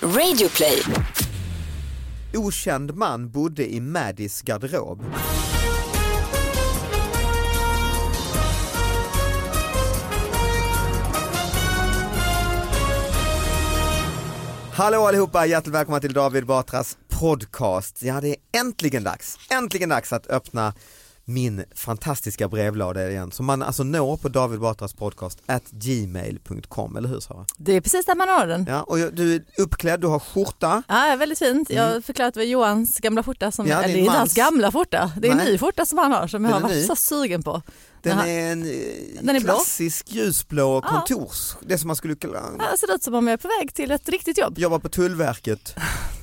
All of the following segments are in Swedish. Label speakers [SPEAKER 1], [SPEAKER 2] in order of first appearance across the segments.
[SPEAKER 1] Radioplay.
[SPEAKER 2] Okänd man bodde i Maddys garderob. Hallå allihopa, hjärtligt välkomna till David Batras podcast. Ja, det är äntligen dags, äntligen dags att öppna min fantastiska brevlåda igen som man alltså når på David Batras podcast at gmail.com, eller hur Sara?
[SPEAKER 3] Det är precis där man har den.
[SPEAKER 2] Ja, och jag- du är uppklädd, du har skjorta.
[SPEAKER 3] Ja, väldigt fint. Jag har förklarat att det var Johans gamla skjorta, som,
[SPEAKER 2] Mm. Ja, det är
[SPEAKER 3] eller det är inte
[SPEAKER 2] mans.
[SPEAKER 3] hans gamla skjorta, det är en
[SPEAKER 2] Nej.
[SPEAKER 3] ny skjorta som han har som jag
[SPEAKER 2] Den
[SPEAKER 3] har
[SPEAKER 2] är
[SPEAKER 3] varit
[SPEAKER 2] ny.
[SPEAKER 3] så sugen på.
[SPEAKER 2] Den
[SPEAKER 3] Jaha.
[SPEAKER 2] är en eh,
[SPEAKER 3] Den är blå.
[SPEAKER 2] klassisk ljusblå
[SPEAKER 3] Ja.
[SPEAKER 2] kontors, det som man skulle kalla,
[SPEAKER 3] Ja, Det ser ut som om jag är på väg till ett riktigt jobb.
[SPEAKER 2] jobba på Tullverket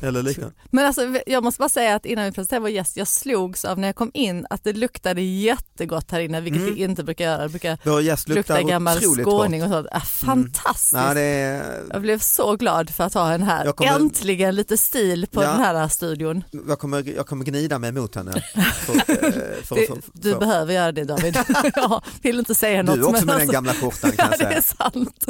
[SPEAKER 2] eller liknande.
[SPEAKER 3] Men alltså, jag måste bara säga att innan vi presenterade vår gäst, jag slogs av när jag kom in att det luktade jättegott här inne, vilket
[SPEAKER 2] Mm.
[SPEAKER 3] det inte brukar göra. Det brukar
[SPEAKER 2] Vår gäst
[SPEAKER 3] lukta
[SPEAKER 2] luktar
[SPEAKER 3] gammal
[SPEAKER 2] otroligt
[SPEAKER 3] skåning
[SPEAKER 2] gott.
[SPEAKER 3] och sånt. Ja, fantastiskt.
[SPEAKER 2] Nej, det är,
[SPEAKER 3] Jag blev så glad för att ha henne här.
[SPEAKER 2] Jag kommer-
[SPEAKER 3] Äntligen lite stil på
[SPEAKER 2] Ja.
[SPEAKER 3] den här studion.
[SPEAKER 2] jag, kommer, jag kommer gnida mig mot henne. För, eh, för,
[SPEAKER 3] Det,
[SPEAKER 2] för, för,
[SPEAKER 3] du behöver göra det David. jag vill inte säga något.
[SPEAKER 2] du också
[SPEAKER 3] men
[SPEAKER 2] med den
[SPEAKER 3] alltså-
[SPEAKER 2] gamla skjortan kan
[SPEAKER 3] Ja
[SPEAKER 2] jag
[SPEAKER 3] det är
[SPEAKER 2] säga.
[SPEAKER 3] sant.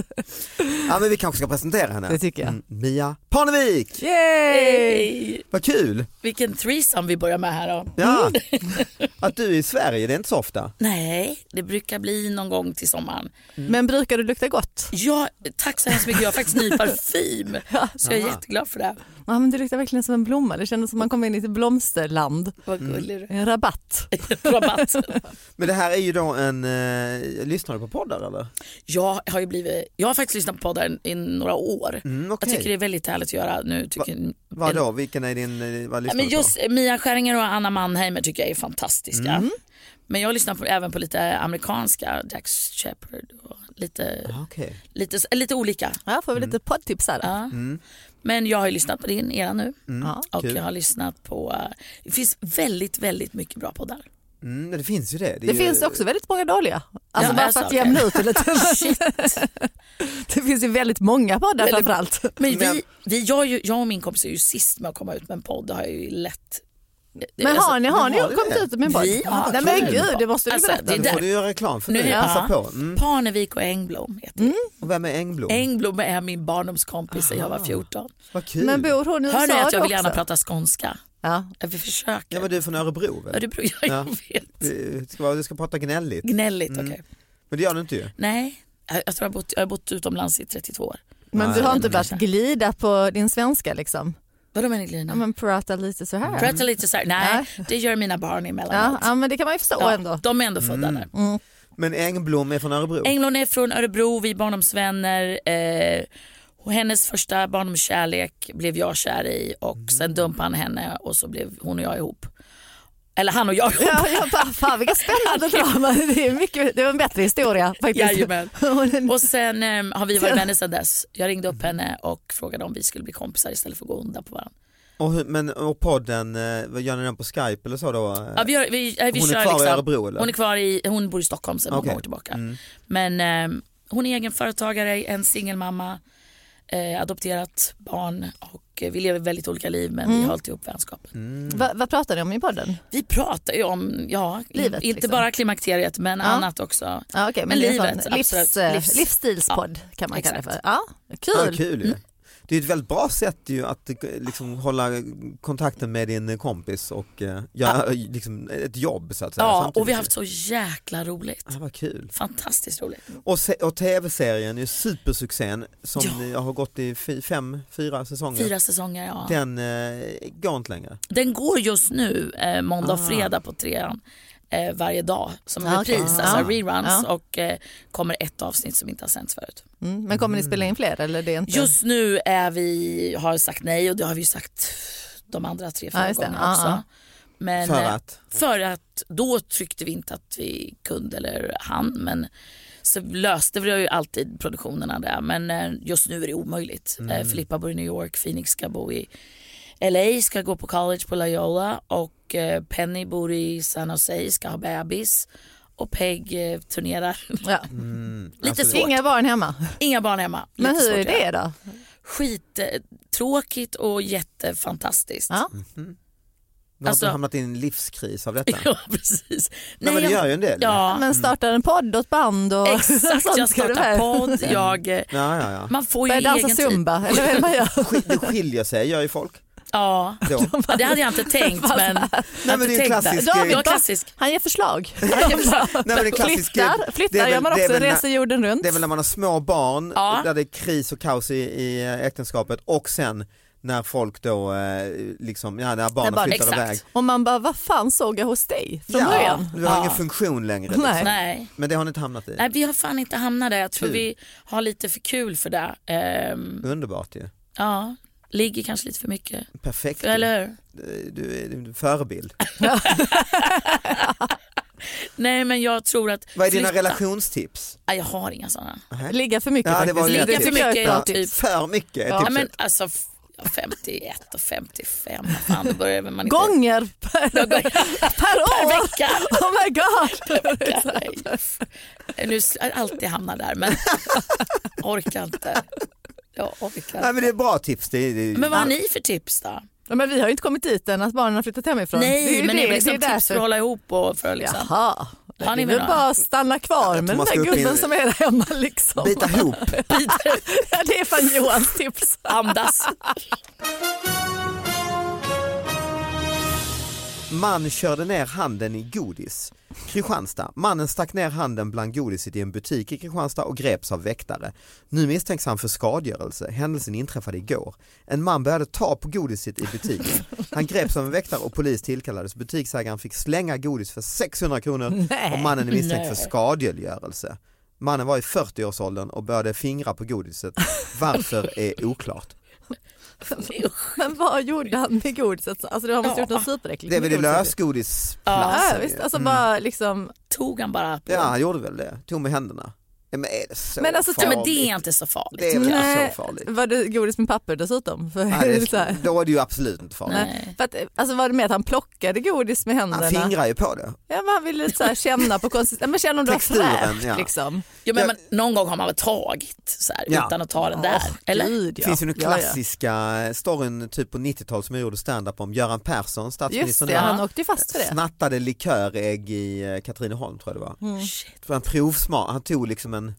[SPEAKER 2] Ja, men vi kanske ska presentera henne.
[SPEAKER 3] Det tycker jag.
[SPEAKER 2] Mm, Mia Parnevik,
[SPEAKER 4] Yay!
[SPEAKER 2] vad kul
[SPEAKER 4] Vilken threesome vi börjar med här då.
[SPEAKER 2] ja.
[SPEAKER 3] Mm.
[SPEAKER 2] att du är i Sverige, det är inte så ofta.
[SPEAKER 4] Nej, det brukar bli någon gång till sommaren.
[SPEAKER 2] Mm.
[SPEAKER 3] Men brukar du lukta gott?
[SPEAKER 4] Ja, tack så hemskt mycket. Jag har faktiskt ny parfym. Så jag är
[SPEAKER 2] Aha.
[SPEAKER 4] jätteglad för det.
[SPEAKER 3] Ja, men det luktar verkligen som en blomma. Det kändes som man kom in i ett blomsterland.
[SPEAKER 4] Vad gullig du
[SPEAKER 3] En rabatt.
[SPEAKER 4] är. Rabatt.
[SPEAKER 2] Men det här är ju då en, eh, lyssnar du på poddar eller?
[SPEAKER 4] Jag har ju blivit, jag har faktiskt lyssnat på poddar i några år.
[SPEAKER 2] Mm,
[SPEAKER 4] Jag
[SPEAKER 2] okej.
[SPEAKER 4] tycker det är väldigt härligt att göra nu. Tycker,
[SPEAKER 2] Vadå, vilken är din, eh, vad
[SPEAKER 4] Ja,
[SPEAKER 2] lyssnar
[SPEAKER 4] men
[SPEAKER 2] du på?
[SPEAKER 4] just Mia Skäringer och Anna Mannheimer tycker jag är fantastiska. Men jag lyssnar på, även på lite amerikanska, Dax Shepard och lite,
[SPEAKER 2] Ah, Okej.
[SPEAKER 4] lite, lite olika.
[SPEAKER 3] Ja, får vi
[SPEAKER 2] Mm.
[SPEAKER 3] lite poddtips här.
[SPEAKER 4] Ja. Men jag har ju lyssnat på din era nu
[SPEAKER 2] mm.
[SPEAKER 3] Ja.
[SPEAKER 4] och
[SPEAKER 2] kul.
[SPEAKER 4] jag har lyssnat på, eh, det finns väldigt, väldigt mycket bra poddar.
[SPEAKER 2] Mm, det finns ju det. är
[SPEAKER 3] Det
[SPEAKER 2] ju-
[SPEAKER 3] finns också väldigt många dåliga. Alltså
[SPEAKER 4] Ja,
[SPEAKER 3] bara
[SPEAKER 4] alltså,
[SPEAKER 3] för att
[SPEAKER 4] okej.
[SPEAKER 3] jämna ut det lite. det finns ju väldigt många poddar
[SPEAKER 4] Väldigt-
[SPEAKER 3] framförallt.
[SPEAKER 4] Men
[SPEAKER 2] Men-
[SPEAKER 4] vi, vi, jag, är ju- jag och min kompis är ju sist med att komma ut med en podd, det har jag ju lätt. alltså,
[SPEAKER 3] Men har ni, har
[SPEAKER 2] men
[SPEAKER 3] ni
[SPEAKER 2] har vi
[SPEAKER 3] kommit
[SPEAKER 2] det?
[SPEAKER 3] ut med en podd?
[SPEAKER 4] Vi har-
[SPEAKER 3] Nej men
[SPEAKER 2] kul.
[SPEAKER 3] gud, det måste du
[SPEAKER 4] Alltså,
[SPEAKER 3] berätta.
[SPEAKER 4] det är
[SPEAKER 2] Nu
[SPEAKER 4] där.
[SPEAKER 2] får du göra reklam för
[SPEAKER 4] Nu
[SPEAKER 2] det.
[SPEAKER 4] är det-
[SPEAKER 2] Passa
[SPEAKER 4] ja.
[SPEAKER 2] på. Mm.
[SPEAKER 4] Parnevik och Engblom heter
[SPEAKER 3] Mm.
[SPEAKER 4] det.
[SPEAKER 2] Och vem är Engblom?
[SPEAKER 4] Engblom är min barndomskompis sen jag var 14.
[SPEAKER 2] Vad kul.
[SPEAKER 3] Men bor hon i USA
[SPEAKER 4] Hör ni att jag vill
[SPEAKER 3] också?
[SPEAKER 4] gärna prata skånska?
[SPEAKER 3] Ja.
[SPEAKER 4] Ja, Vi försöker.
[SPEAKER 2] Ja men du är från Örebro väl?
[SPEAKER 4] Örebro, jag
[SPEAKER 2] Ja.
[SPEAKER 4] vet.
[SPEAKER 2] Du ska, vara- du ska prata gnälligt.
[SPEAKER 4] Gnälligt,
[SPEAKER 3] Mm.
[SPEAKER 4] okej.
[SPEAKER 2] Men det gör du inte ju.
[SPEAKER 4] Nej, jag, jag tror jag har, bott, jag har bott utomlands i 32 år.
[SPEAKER 3] Men du
[SPEAKER 2] Nej,
[SPEAKER 3] har inte
[SPEAKER 4] men
[SPEAKER 3] börjat
[SPEAKER 4] kanske.
[SPEAKER 3] glida på din svenska liksom?
[SPEAKER 4] Vadå menar ni Lina?
[SPEAKER 3] Ja, men prata lite så här.
[SPEAKER 4] Prata lite så här. Nej, det gör mina barn
[SPEAKER 3] Ja,
[SPEAKER 4] emellanåt.
[SPEAKER 3] ja men det kan man ju förstå
[SPEAKER 4] Ja,
[SPEAKER 3] ändå.
[SPEAKER 4] De är ändå födda
[SPEAKER 2] Mm.
[SPEAKER 4] där.
[SPEAKER 2] Men Engblom är från Örebro?
[SPEAKER 4] Englund är från Örebro, vi är barndomsvänner. Eh, och hennes första barndomskärlek blev jag kär i och
[SPEAKER 2] Mm.
[SPEAKER 4] sen dumpade han henne och så blev hon och jag ihop. Eller han och jag ihop.
[SPEAKER 3] Ja, jag bara, fan vilka spännande drama. Det, är mycket, det var en bättre historia faktiskt.
[SPEAKER 4] Jajamän.
[SPEAKER 3] Hon-
[SPEAKER 4] Och sen eh, har vi varit vänner sedan dess. Jag ringde upp henne och frågade om vi skulle bli kompisar istället för att gå onda på varandra.
[SPEAKER 2] Och, hur- men, och podden, eh, vad gör ni den på Skype eller så då?
[SPEAKER 4] Ja, vi, har, vi, eh, vi
[SPEAKER 2] Hon är
[SPEAKER 4] kör
[SPEAKER 2] kvar i
[SPEAKER 4] liksom,
[SPEAKER 2] Örebro, eller?
[SPEAKER 4] Hon är kvar i, hon bor i Stockholm sedan
[SPEAKER 2] Okej. Mm.
[SPEAKER 4] många år tillbaka. Men eh, hon är egenföretagare, en singelmamma, eh, adopterat barn och eh, vi lever väldigt olika liv men vi har hållit ihop vänskapen.
[SPEAKER 2] mm.
[SPEAKER 3] Va, vad pratar ni om i podden?
[SPEAKER 4] Vi pratar ju om, ja,
[SPEAKER 3] Livet,
[SPEAKER 4] inte
[SPEAKER 3] liksom.
[SPEAKER 4] bara klimakteriet men annat också.
[SPEAKER 3] Ja, okej, men
[SPEAKER 4] Men
[SPEAKER 3] det är en
[SPEAKER 4] livet,
[SPEAKER 3] sån
[SPEAKER 4] absolut.
[SPEAKER 3] livs, eh,
[SPEAKER 4] Livs-
[SPEAKER 3] livsstilspodd kan man kalla det för.
[SPEAKER 4] exakt.
[SPEAKER 3] Ja,
[SPEAKER 2] Ja,
[SPEAKER 3] kul.
[SPEAKER 2] kul ju.
[SPEAKER 4] Mm.
[SPEAKER 2] Det är ett väldigt bra sätt ju att eh, liksom, hålla kontakten med din kompis och eh, göra eh, liksom, ett jobb så att säga.
[SPEAKER 4] Ja,
[SPEAKER 2] samtidigt
[SPEAKER 4] och vi
[SPEAKER 2] ju.
[SPEAKER 4] har haft så jäkla roligt.
[SPEAKER 2] Ja, vad kul.
[SPEAKER 4] Fantastiskt roligt.
[SPEAKER 2] Och, se- och tv-serien, är ju supersuccén som
[SPEAKER 4] Ja.
[SPEAKER 2] jag har gått i fy, fem, fyra säsonger.
[SPEAKER 4] Fyra säsonger, ja.
[SPEAKER 2] Den eh, går inte längre.
[SPEAKER 4] Den går just nu eh, måndag
[SPEAKER 2] Ah.
[SPEAKER 4] och fredag på trean eh, varje dag som en
[SPEAKER 3] Ah, okej.
[SPEAKER 4] repris,
[SPEAKER 3] Ah.
[SPEAKER 4] alltså reruns
[SPEAKER 3] Ja.
[SPEAKER 4] och eh, kommer ett avsnitt som inte har sänts förut.
[SPEAKER 3] Mm, men kommer ni spela in fler? Eller det är inte...
[SPEAKER 4] Just nu är vi, har sagt nej och det har vi ju sagt de andra tre,
[SPEAKER 3] Ja,
[SPEAKER 4] fyra
[SPEAKER 3] just det.
[SPEAKER 4] gångerna
[SPEAKER 3] Ja,
[SPEAKER 4] också.
[SPEAKER 3] ja.
[SPEAKER 4] Men,
[SPEAKER 2] För
[SPEAKER 4] eh,
[SPEAKER 2] att?
[SPEAKER 4] För att då tyckte vi inte att vi kunde eller han men så löste vi ju alltid produktionerna där men eh, just nu är det omöjligt. Mm. Filippa bor i New York, Phoenix ska bo i LA, ska gå på college på Loyola och eh, Penny bor i San Jose, ska ha bebis och Peg eh, turnerar.
[SPEAKER 3] Ja.
[SPEAKER 4] Lite
[SPEAKER 2] Alltså,
[SPEAKER 4] svårt.
[SPEAKER 3] Inga barn hemma.
[SPEAKER 4] Inga barn hemma.
[SPEAKER 3] Men
[SPEAKER 4] Lite
[SPEAKER 3] hur är
[SPEAKER 4] svårt att göra.
[SPEAKER 3] det då?
[SPEAKER 4] Skittråkigt och jättefantastiskt.
[SPEAKER 3] Ja.
[SPEAKER 2] Du har
[SPEAKER 4] Alltså-
[SPEAKER 2] mhm. inte hamnat i en livskris av detta?
[SPEAKER 4] Ja, precis.
[SPEAKER 2] Nej, men det
[SPEAKER 4] jag-
[SPEAKER 2] gör ju en del.
[SPEAKER 4] Ja, mm.
[SPEAKER 3] Men startar en podd och ett band och
[SPEAKER 4] exakt.
[SPEAKER 3] sånt
[SPEAKER 4] Jag
[SPEAKER 3] ska du med.
[SPEAKER 4] startar podd. Jag, eh,
[SPEAKER 2] Ja, ja, ja.
[SPEAKER 4] man får ju
[SPEAKER 3] Börjar dansa
[SPEAKER 4] egen typ. tid.
[SPEAKER 3] zumba eller vad är det man gör?
[SPEAKER 2] Skil- Det skiljer sig, gör ju folk.
[SPEAKER 4] Ja.
[SPEAKER 2] Då.
[SPEAKER 4] Ja, det hade jag inte tänkt. Men, Nej,
[SPEAKER 2] men det är ju klassiskt.
[SPEAKER 4] Jag
[SPEAKER 3] David
[SPEAKER 4] är
[SPEAKER 3] bara-
[SPEAKER 4] klassisk.
[SPEAKER 3] Han ger förslag.
[SPEAKER 2] Nej, men det är klassiskt.
[SPEAKER 3] Flyttar,
[SPEAKER 2] Det är
[SPEAKER 3] flyttar
[SPEAKER 2] väl-
[SPEAKER 3] gör man
[SPEAKER 2] det är
[SPEAKER 3] också,
[SPEAKER 2] väl när-
[SPEAKER 3] reser jorden runt.
[SPEAKER 2] Det är väl när man har små barn
[SPEAKER 4] Ja.
[SPEAKER 2] där det är kris och kaos i, i eh, äktenskapet och sen när folk då eh, liksom, ja, när barnen
[SPEAKER 3] barn-
[SPEAKER 2] flyttar
[SPEAKER 4] Exakt.
[SPEAKER 2] iväg.
[SPEAKER 3] Och man bara, vad fan såg jag hos dig från
[SPEAKER 2] Ja,
[SPEAKER 3] början?
[SPEAKER 2] du har
[SPEAKER 4] Ja.
[SPEAKER 2] ingen funktion längre. Liksom.
[SPEAKER 3] Nej.
[SPEAKER 4] Nej.
[SPEAKER 2] Men det har ni inte hamnat i.
[SPEAKER 4] Nej, vi har fan inte hamnat där. Jag tror
[SPEAKER 2] Kul.
[SPEAKER 4] vi har lite för kul för det. Ehm,
[SPEAKER 2] Underbart ju.
[SPEAKER 4] ja, ligger kanske lite för mycket.
[SPEAKER 2] Perfekt.
[SPEAKER 4] Eller hur?
[SPEAKER 2] Du, du är en förebild.
[SPEAKER 4] Nej, men jag tror att...
[SPEAKER 2] Vad är dina
[SPEAKER 4] flytta-
[SPEAKER 2] relationstips?
[SPEAKER 4] Nej, jag har inga sådana.
[SPEAKER 3] Ligga för mycket
[SPEAKER 2] Ja, det
[SPEAKER 3] faktiskt.
[SPEAKER 2] var ju
[SPEAKER 4] Ligga
[SPEAKER 2] ett
[SPEAKER 4] för
[SPEAKER 2] tips.
[SPEAKER 3] tycker jag är
[SPEAKER 4] mycket
[SPEAKER 3] ett bra
[SPEAKER 4] är typ...
[SPEAKER 2] För mycket är
[SPEAKER 4] Ja,
[SPEAKER 2] tipset.
[SPEAKER 4] men alltså f- ja, 51 och 55, vad fan då börjar man inte...
[SPEAKER 3] Gånger per,
[SPEAKER 4] Ja, gånger.
[SPEAKER 3] per
[SPEAKER 4] Per
[SPEAKER 3] år!
[SPEAKER 4] vecka!
[SPEAKER 3] Oh my god!
[SPEAKER 4] Nej, f- Nu s- jag alltid hamnar där men orkar inte. Jag orkar
[SPEAKER 2] Nej,
[SPEAKER 4] inte.
[SPEAKER 2] men det är bra tips. Det är, det är,
[SPEAKER 4] Men vad har ni för tips då?
[SPEAKER 3] Ja, men vi har ju inte kommit dit än att barnen har flyttat hemifrån. Det
[SPEAKER 4] Nej
[SPEAKER 3] ju
[SPEAKER 4] men det är
[SPEAKER 3] ju
[SPEAKER 4] liksom tips för att hålla ihop och för att liksom.
[SPEAKER 3] Jaha,
[SPEAKER 4] Har ni
[SPEAKER 3] det är väl
[SPEAKER 4] några?
[SPEAKER 3] bara att stanna kvar
[SPEAKER 2] tror
[SPEAKER 3] med den
[SPEAKER 2] man ska
[SPEAKER 3] där
[SPEAKER 2] upp i-
[SPEAKER 3] gubben som är där hemma liksom.
[SPEAKER 2] Bita ihop.
[SPEAKER 3] Ja, det är fan Johans tips.
[SPEAKER 4] Andas.
[SPEAKER 2] Man körde ner handen i godis. Kristianstad. Mannen stack ner handen bland godiset i en butik i Kristianstad och greps av väktare. Nu misstänks han för skadegörelse. Händelsen inträffade igår. En man började ta på godiset i butiken. Han greps av en väktare och polis tillkallades. Butiksägaren fick slänga godis för 600 kronor och mannen är misstänkt för
[SPEAKER 4] Nej.
[SPEAKER 2] skadegörelse. Mannen var i 40-årsåldern och började fingra på godiset. Varför är oklart.
[SPEAKER 4] Usch.
[SPEAKER 3] Men vad gjorde han med godiset? Alltså det har måste
[SPEAKER 4] Ja.
[SPEAKER 3] gjort något superäckligt
[SPEAKER 2] Det är väl i mm.
[SPEAKER 3] med godiset. Ja,
[SPEAKER 2] lösgodisplatsen. ju.
[SPEAKER 3] visst. Alltså bara liksom.
[SPEAKER 4] Tog han bara på?
[SPEAKER 2] Ja, han gjorde väl det. Tog med händerna. Ja, Men är det så
[SPEAKER 3] Men alltså,
[SPEAKER 4] Ja,
[SPEAKER 2] farligt?
[SPEAKER 4] men det är inte så farligt.
[SPEAKER 2] Det är väl
[SPEAKER 3] Nej,
[SPEAKER 2] inte så farligt?
[SPEAKER 3] Var det godis med papper dessutom? För,
[SPEAKER 2] Nej, det
[SPEAKER 3] så här.
[SPEAKER 2] är, då är det ju absolut inte farligt.
[SPEAKER 4] Nej.
[SPEAKER 3] För att, alltså var det med att han plockade godis med händerna?
[SPEAKER 2] Han fingrar ju på det.
[SPEAKER 3] Ja, men han ville så här känna på konsistensen, men känna om det var
[SPEAKER 2] Texturen,
[SPEAKER 3] fräscht
[SPEAKER 2] ja.
[SPEAKER 3] liksom.
[SPEAKER 4] Jo, men, men, någon gång har man väl tagit så här,
[SPEAKER 2] Ja.
[SPEAKER 4] utan att ta den där?
[SPEAKER 3] Åh,
[SPEAKER 4] eller?
[SPEAKER 3] Gud,
[SPEAKER 2] Det
[SPEAKER 3] ja.
[SPEAKER 2] finns ju den
[SPEAKER 3] Ja, ja.
[SPEAKER 2] klassiska storyn typ på 90-talet som jag gjorde stand-up om Göran Persson,
[SPEAKER 3] Just
[SPEAKER 2] statsministern,
[SPEAKER 3] det,
[SPEAKER 2] där,
[SPEAKER 3] han åkte ju fast för det.
[SPEAKER 2] snattade likörägg i eh, Katrineholm tror jag det var.
[SPEAKER 3] Mm.
[SPEAKER 4] Shit.
[SPEAKER 2] Det var en provsmak, han tog liksom en,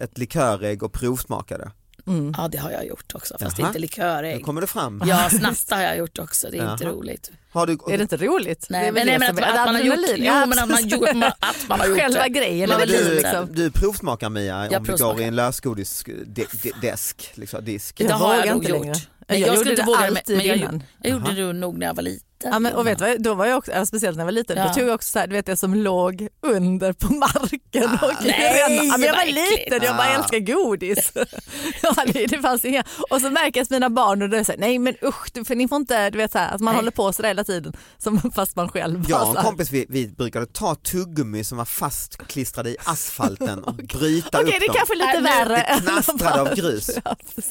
[SPEAKER 2] ett likörägg och provsmakade.
[SPEAKER 3] Mm.
[SPEAKER 4] Ja det har jag gjort också fast
[SPEAKER 2] Jaha.
[SPEAKER 4] inte
[SPEAKER 2] Nu
[SPEAKER 4] likörägg.
[SPEAKER 2] kommer det fram.
[SPEAKER 4] Ja snatta har jag gjort också, det är inte
[SPEAKER 2] Jaha.
[SPEAKER 4] roligt.
[SPEAKER 2] Har du,
[SPEAKER 3] Är det inte roligt?
[SPEAKER 4] Nej,
[SPEAKER 3] det är
[SPEAKER 4] men,
[SPEAKER 3] väl
[SPEAKER 4] nej,
[SPEAKER 3] det
[SPEAKER 4] men
[SPEAKER 3] som
[SPEAKER 4] att,
[SPEAKER 3] är
[SPEAKER 4] att man har gjort,
[SPEAKER 3] adrenalin.
[SPEAKER 4] jo,
[SPEAKER 3] Ja,
[SPEAKER 4] men att man, gjort, att man har gjort
[SPEAKER 3] Själva
[SPEAKER 4] det.
[SPEAKER 3] grejen är
[SPEAKER 4] Men
[SPEAKER 3] väl
[SPEAKER 4] du-
[SPEAKER 3] livet.
[SPEAKER 2] du,
[SPEAKER 3] liksom.
[SPEAKER 2] du provsmakar Mia om vi går
[SPEAKER 4] provsmakar.
[SPEAKER 2] i en lösgodisdesk, liksom, disk.
[SPEAKER 4] Det
[SPEAKER 3] Jag
[SPEAKER 4] har
[SPEAKER 3] vågar
[SPEAKER 4] jag nog
[SPEAKER 3] inte
[SPEAKER 4] gjort.
[SPEAKER 3] längre.
[SPEAKER 4] Men jag,
[SPEAKER 3] Jag gjorde
[SPEAKER 4] skulle
[SPEAKER 3] det
[SPEAKER 4] inte våga det,
[SPEAKER 3] alltid
[SPEAKER 4] men jag,
[SPEAKER 3] innan.
[SPEAKER 4] gjorde- jag gjorde det nog när jag var liten.
[SPEAKER 3] Ja, men, och vet du vad, då var jag också, eller speciellt när jag var liten,
[SPEAKER 4] Ja.
[SPEAKER 3] då tog jag också så här, du vet det som låg under på marken och
[SPEAKER 4] Ah, nej,
[SPEAKER 3] grön. ja, men Jag
[SPEAKER 4] vad
[SPEAKER 3] var
[SPEAKER 4] äckligt.
[SPEAKER 3] liten, jag bara
[SPEAKER 2] Ah.
[SPEAKER 3] älskar godis. Jag hade, det fanns inga. Och så märker jag att mina barn och då är så här, nej men usch, du- för ni får inte, du vet så här, att man
[SPEAKER 4] Nej.
[SPEAKER 3] håller på sådär hela tiden som, fast man själv bara
[SPEAKER 2] Jag
[SPEAKER 3] så
[SPEAKER 2] och
[SPEAKER 3] här,
[SPEAKER 2] en kompis vi, vi brukade ta tuggummi som var fastklistrade i asfalten och bryta
[SPEAKER 3] Okej
[SPEAKER 2] upp
[SPEAKER 3] det är
[SPEAKER 2] dem.
[SPEAKER 3] kanske lite
[SPEAKER 4] Nej, men-
[SPEAKER 3] värre.
[SPEAKER 2] Det
[SPEAKER 3] än att
[SPEAKER 2] knastrade
[SPEAKER 3] bara-
[SPEAKER 2] av grus.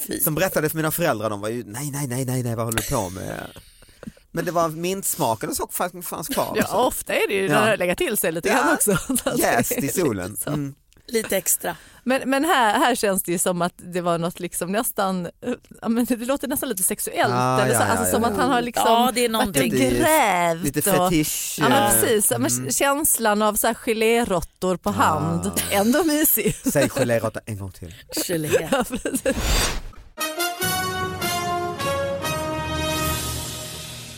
[SPEAKER 4] Fy.
[SPEAKER 2] Som berättade för mina föräldrar, de var ju nej, nej, nej, nej, nej vad håller du på med? Men det var mintsmaken och så fanns, fanns kvar.
[SPEAKER 3] Ja,
[SPEAKER 2] Så
[SPEAKER 3] ofta är det ju
[SPEAKER 2] Ja.
[SPEAKER 3] när det lägger till sig lite
[SPEAKER 2] Ja.
[SPEAKER 3] grann också. Så att det
[SPEAKER 2] Jäst
[SPEAKER 3] är
[SPEAKER 2] i solen.
[SPEAKER 3] lite så.
[SPEAKER 2] Mm.
[SPEAKER 4] Lite extra.
[SPEAKER 3] Men, men här, här känns det ju som att det var något liksom nästan, ja, men det låter nästan lite sexuellt.
[SPEAKER 2] Ah,
[SPEAKER 3] eller så,
[SPEAKER 2] ja, ja,
[SPEAKER 3] alltså
[SPEAKER 2] ja,
[SPEAKER 3] som
[SPEAKER 2] ja.
[SPEAKER 3] att han har liksom
[SPEAKER 4] ja det är
[SPEAKER 3] varit och
[SPEAKER 4] någonting.
[SPEAKER 2] Det är
[SPEAKER 3] grävt.
[SPEAKER 2] Lite
[SPEAKER 3] och,
[SPEAKER 2] fetisch.
[SPEAKER 3] ja, men
[SPEAKER 2] eh,
[SPEAKER 3] precis, Ja, men
[SPEAKER 2] mm. Ah.
[SPEAKER 3] känslan av så här geléråttor på hand. Ändå mysig.
[SPEAKER 2] Säg geléråtta en gång till.
[SPEAKER 4] Gelé.
[SPEAKER 3] Ja, precis.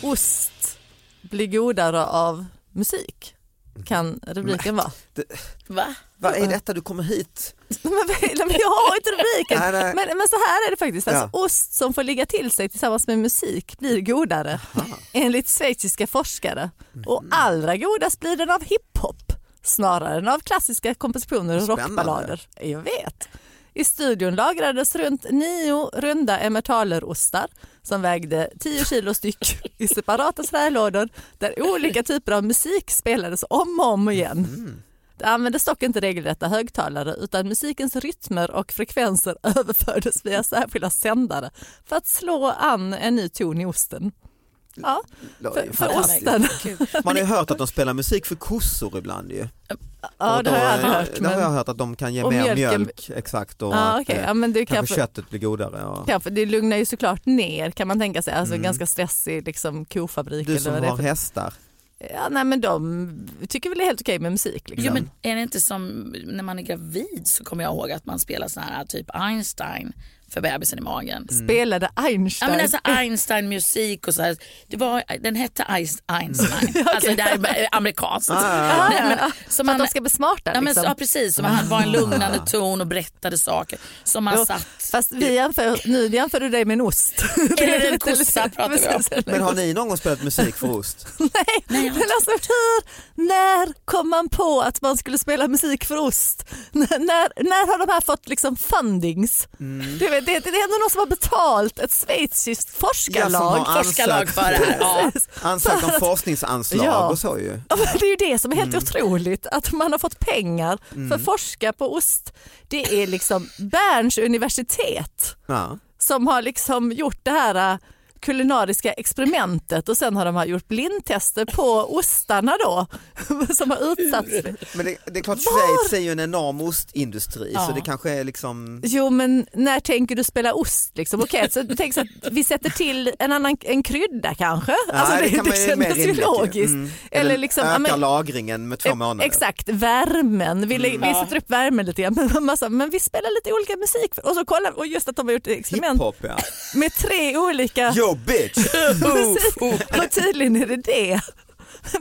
[SPEAKER 3] Ost blir godare av musik kan rubriken vara.
[SPEAKER 4] Va?
[SPEAKER 2] Vad är detta du kommer hit?
[SPEAKER 3] Men, men jag har inte rubriken.
[SPEAKER 2] Nej, nej.
[SPEAKER 3] Men, men så här är det faktiskt. Alltså,
[SPEAKER 2] Ja.
[SPEAKER 3] Ost som får ligga till sig tillsammans med musik blir godare enligt schweiziska forskare. Och
[SPEAKER 2] Mm.
[SPEAKER 3] allra godast blir den av hiphop snarare än av klassiska kompositioner och
[SPEAKER 2] Spännande.
[SPEAKER 3] rockballader. Jag vet. I studion lagrades runt nio runda emmentalerostar som vägde 10 kilo styck i separata trälådor där olika typer av musik spelades om och om igen.
[SPEAKER 2] Mm.
[SPEAKER 3] Det användes dock inte regelrätta högtalare utan musikens rytmer och frekvenser överfördes via särskilda sändare för att slå an en ny ton i osten. Ja,
[SPEAKER 2] Det är
[SPEAKER 3] för, för
[SPEAKER 2] fantastiskt.
[SPEAKER 3] osten.
[SPEAKER 2] Man har ju hört att de spelar musik för kossor ibland ju.
[SPEAKER 3] Ja,
[SPEAKER 2] Och
[SPEAKER 3] det
[SPEAKER 2] då,
[SPEAKER 3] har jag
[SPEAKER 2] eh,
[SPEAKER 3] aldrig hört.
[SPEAKER 2] Det har jag
[SPEAKER 3] Men,
[SPEAKER 2] hört att de kan ge
[SPEAKER 3] Och
[SPEAKER 2] mer
[SPEAKER 3] mjölken-
[SPEAKER 2] mjölk, exakt. Och
[SPEAKER 3] ja,
[SPEAKER 2] att,
[SPEAKER 3] okej.
[SPEAKER 2] eh,
[SPEAKER 3] ja, men det
[SPEAKER 2] kanske
[SPEAKER 3] kanske,
[SPEAKER 2] köttet blir godare. Och...
[SPEAKER 3] kanske, det lugnar ju såklart ner kan man tänka sig. Alltså
[SPEAKER 2] Mm.
[SPEAKER 3] ganska stressig liksom, kofabrik.
[SPEAKER 2] Du som
[SPEAKER 3] eller vad det är
[SPEAKER 2] har
[SPEAKER 3] för-
[SPEAKER 2] hästar.
[SPEAKER 3] ja, nej, men de tycker väl det är helt okej med musik. Liksom.
[SPEAKER 4] Jo, men är det inte som när man är gravid så kommer jag ihåg att man spelar sån här typ Einstein för bebisen i magen.
[SPEAKER 2] Mm.
[SPEAKER 3] Spelade
[SPEAKER 4] Ja
[SPEAKER 3] Einstein.
[SPEAKER 4] men alltså Einstein musik och så här. Det var, den hette Eis- Einstein. Alltså det här är amerikanskt.
[SPEAKER 2] Ah.
[SPEAKER 4] Nej, men, så
[SPEAKER 3] för
[SPEAKER 4] man,
[SPEAKER 3] att de ska bli smarta.
[SPEAKER 4] ja, men,
[SPEAKER 3] liksom.
[SPEAKER 4] ja precis, som han var en lugnande ton och berättade saker. Som man
[SPEAKER 3] Jo,
[SPEAKER 4] satt,
[SPEAKER 3] Fast vi jämför, nu jämför du dig med en ost.
[SPEAKER 4] Eller en kossa pratar vi om.
[SPEAKER 3] Precis, eller-
[SPEAKER 2] Men har ni någon gång spelat musik för ost?
[SPEAKER 3] Nej, men alltså hur, när kom man på att man skulle spela musik för ost? N- när, när har de här fått liksom fundings?
[SPEAKER 2] Mm.
[SPEAKER 3] Du vet, det, det är ändå någon som har betalt ett schweiziskt forskarlag.
[SPEAKER 2] Ja, som har
[SPEAKER 4] forskarlag för det här. Ja.
[SPEAKER 2] Ansökt om forskningsanslag
[SPEAKER 3] Ja.
[SPEAKER 2] och så ju.
[SPEAKER 3] Ja, men Det är ju det som är
[SPEAKER 2] Mm.
[SPEAKER 3] helt otroligt, att man har fått pengar för att forska på ost. Det är liksom Berns universitet.
[SPEAKER 2] Ja.
[SPEAKER 3] som har liksom gjort det här äh, kulinariska experimentet och sen har de här gjort blindtester på ostarna då som har utsatts. för-
[SPEAKER 2] Men det, det är klart Schweiz är ju en enorm ostindustri så
[SPEAKER 4] Ja.
[SPEAKER 2] det kanske är liksom
[SPEAKER 3] Jo men när tänker du spela ost liksom? Okej, så du tänker så att vi sätter till en annan en krydda kanske? alltså
[SPEAKER 2] Nej,
[SPEAKER 3] det,
[SPEAKER 2] kan
[SPEAKER 3] det,
[SPEAKER 2] man ju- mer
[SPEAKER 3] kändes ju
[SPEAKER 2] rimligt ju.
[SPEAKER 3] logiskt.
[SPEAKER 2] Mm.
[SPEAKER 3] Eller liksom, ja,
[SPEAKER 2] ökar
[SPEAKER 3] men- e-
[SPEAKER 2] lagringen med två månader.
[SPEAKER 3] Exakt, värmen. Vi, lä- vi
[SPEAKER 4] Ja.
[SPEAKER 3] sätter upp värmen lite grann. Men, massa, men vi spelar lite olika musik. Och så kollar och just att de har gjort ett experiment
[SPEAKER 2] Hiphop ja.
[SPEAKER 3] med tre olika
[SPEAKER 2] Yo bitch!
[SPEAKER 3] Precis.
[SPEAKER 2] Oh,
[SPEAKER 3] Och tydligen är det det.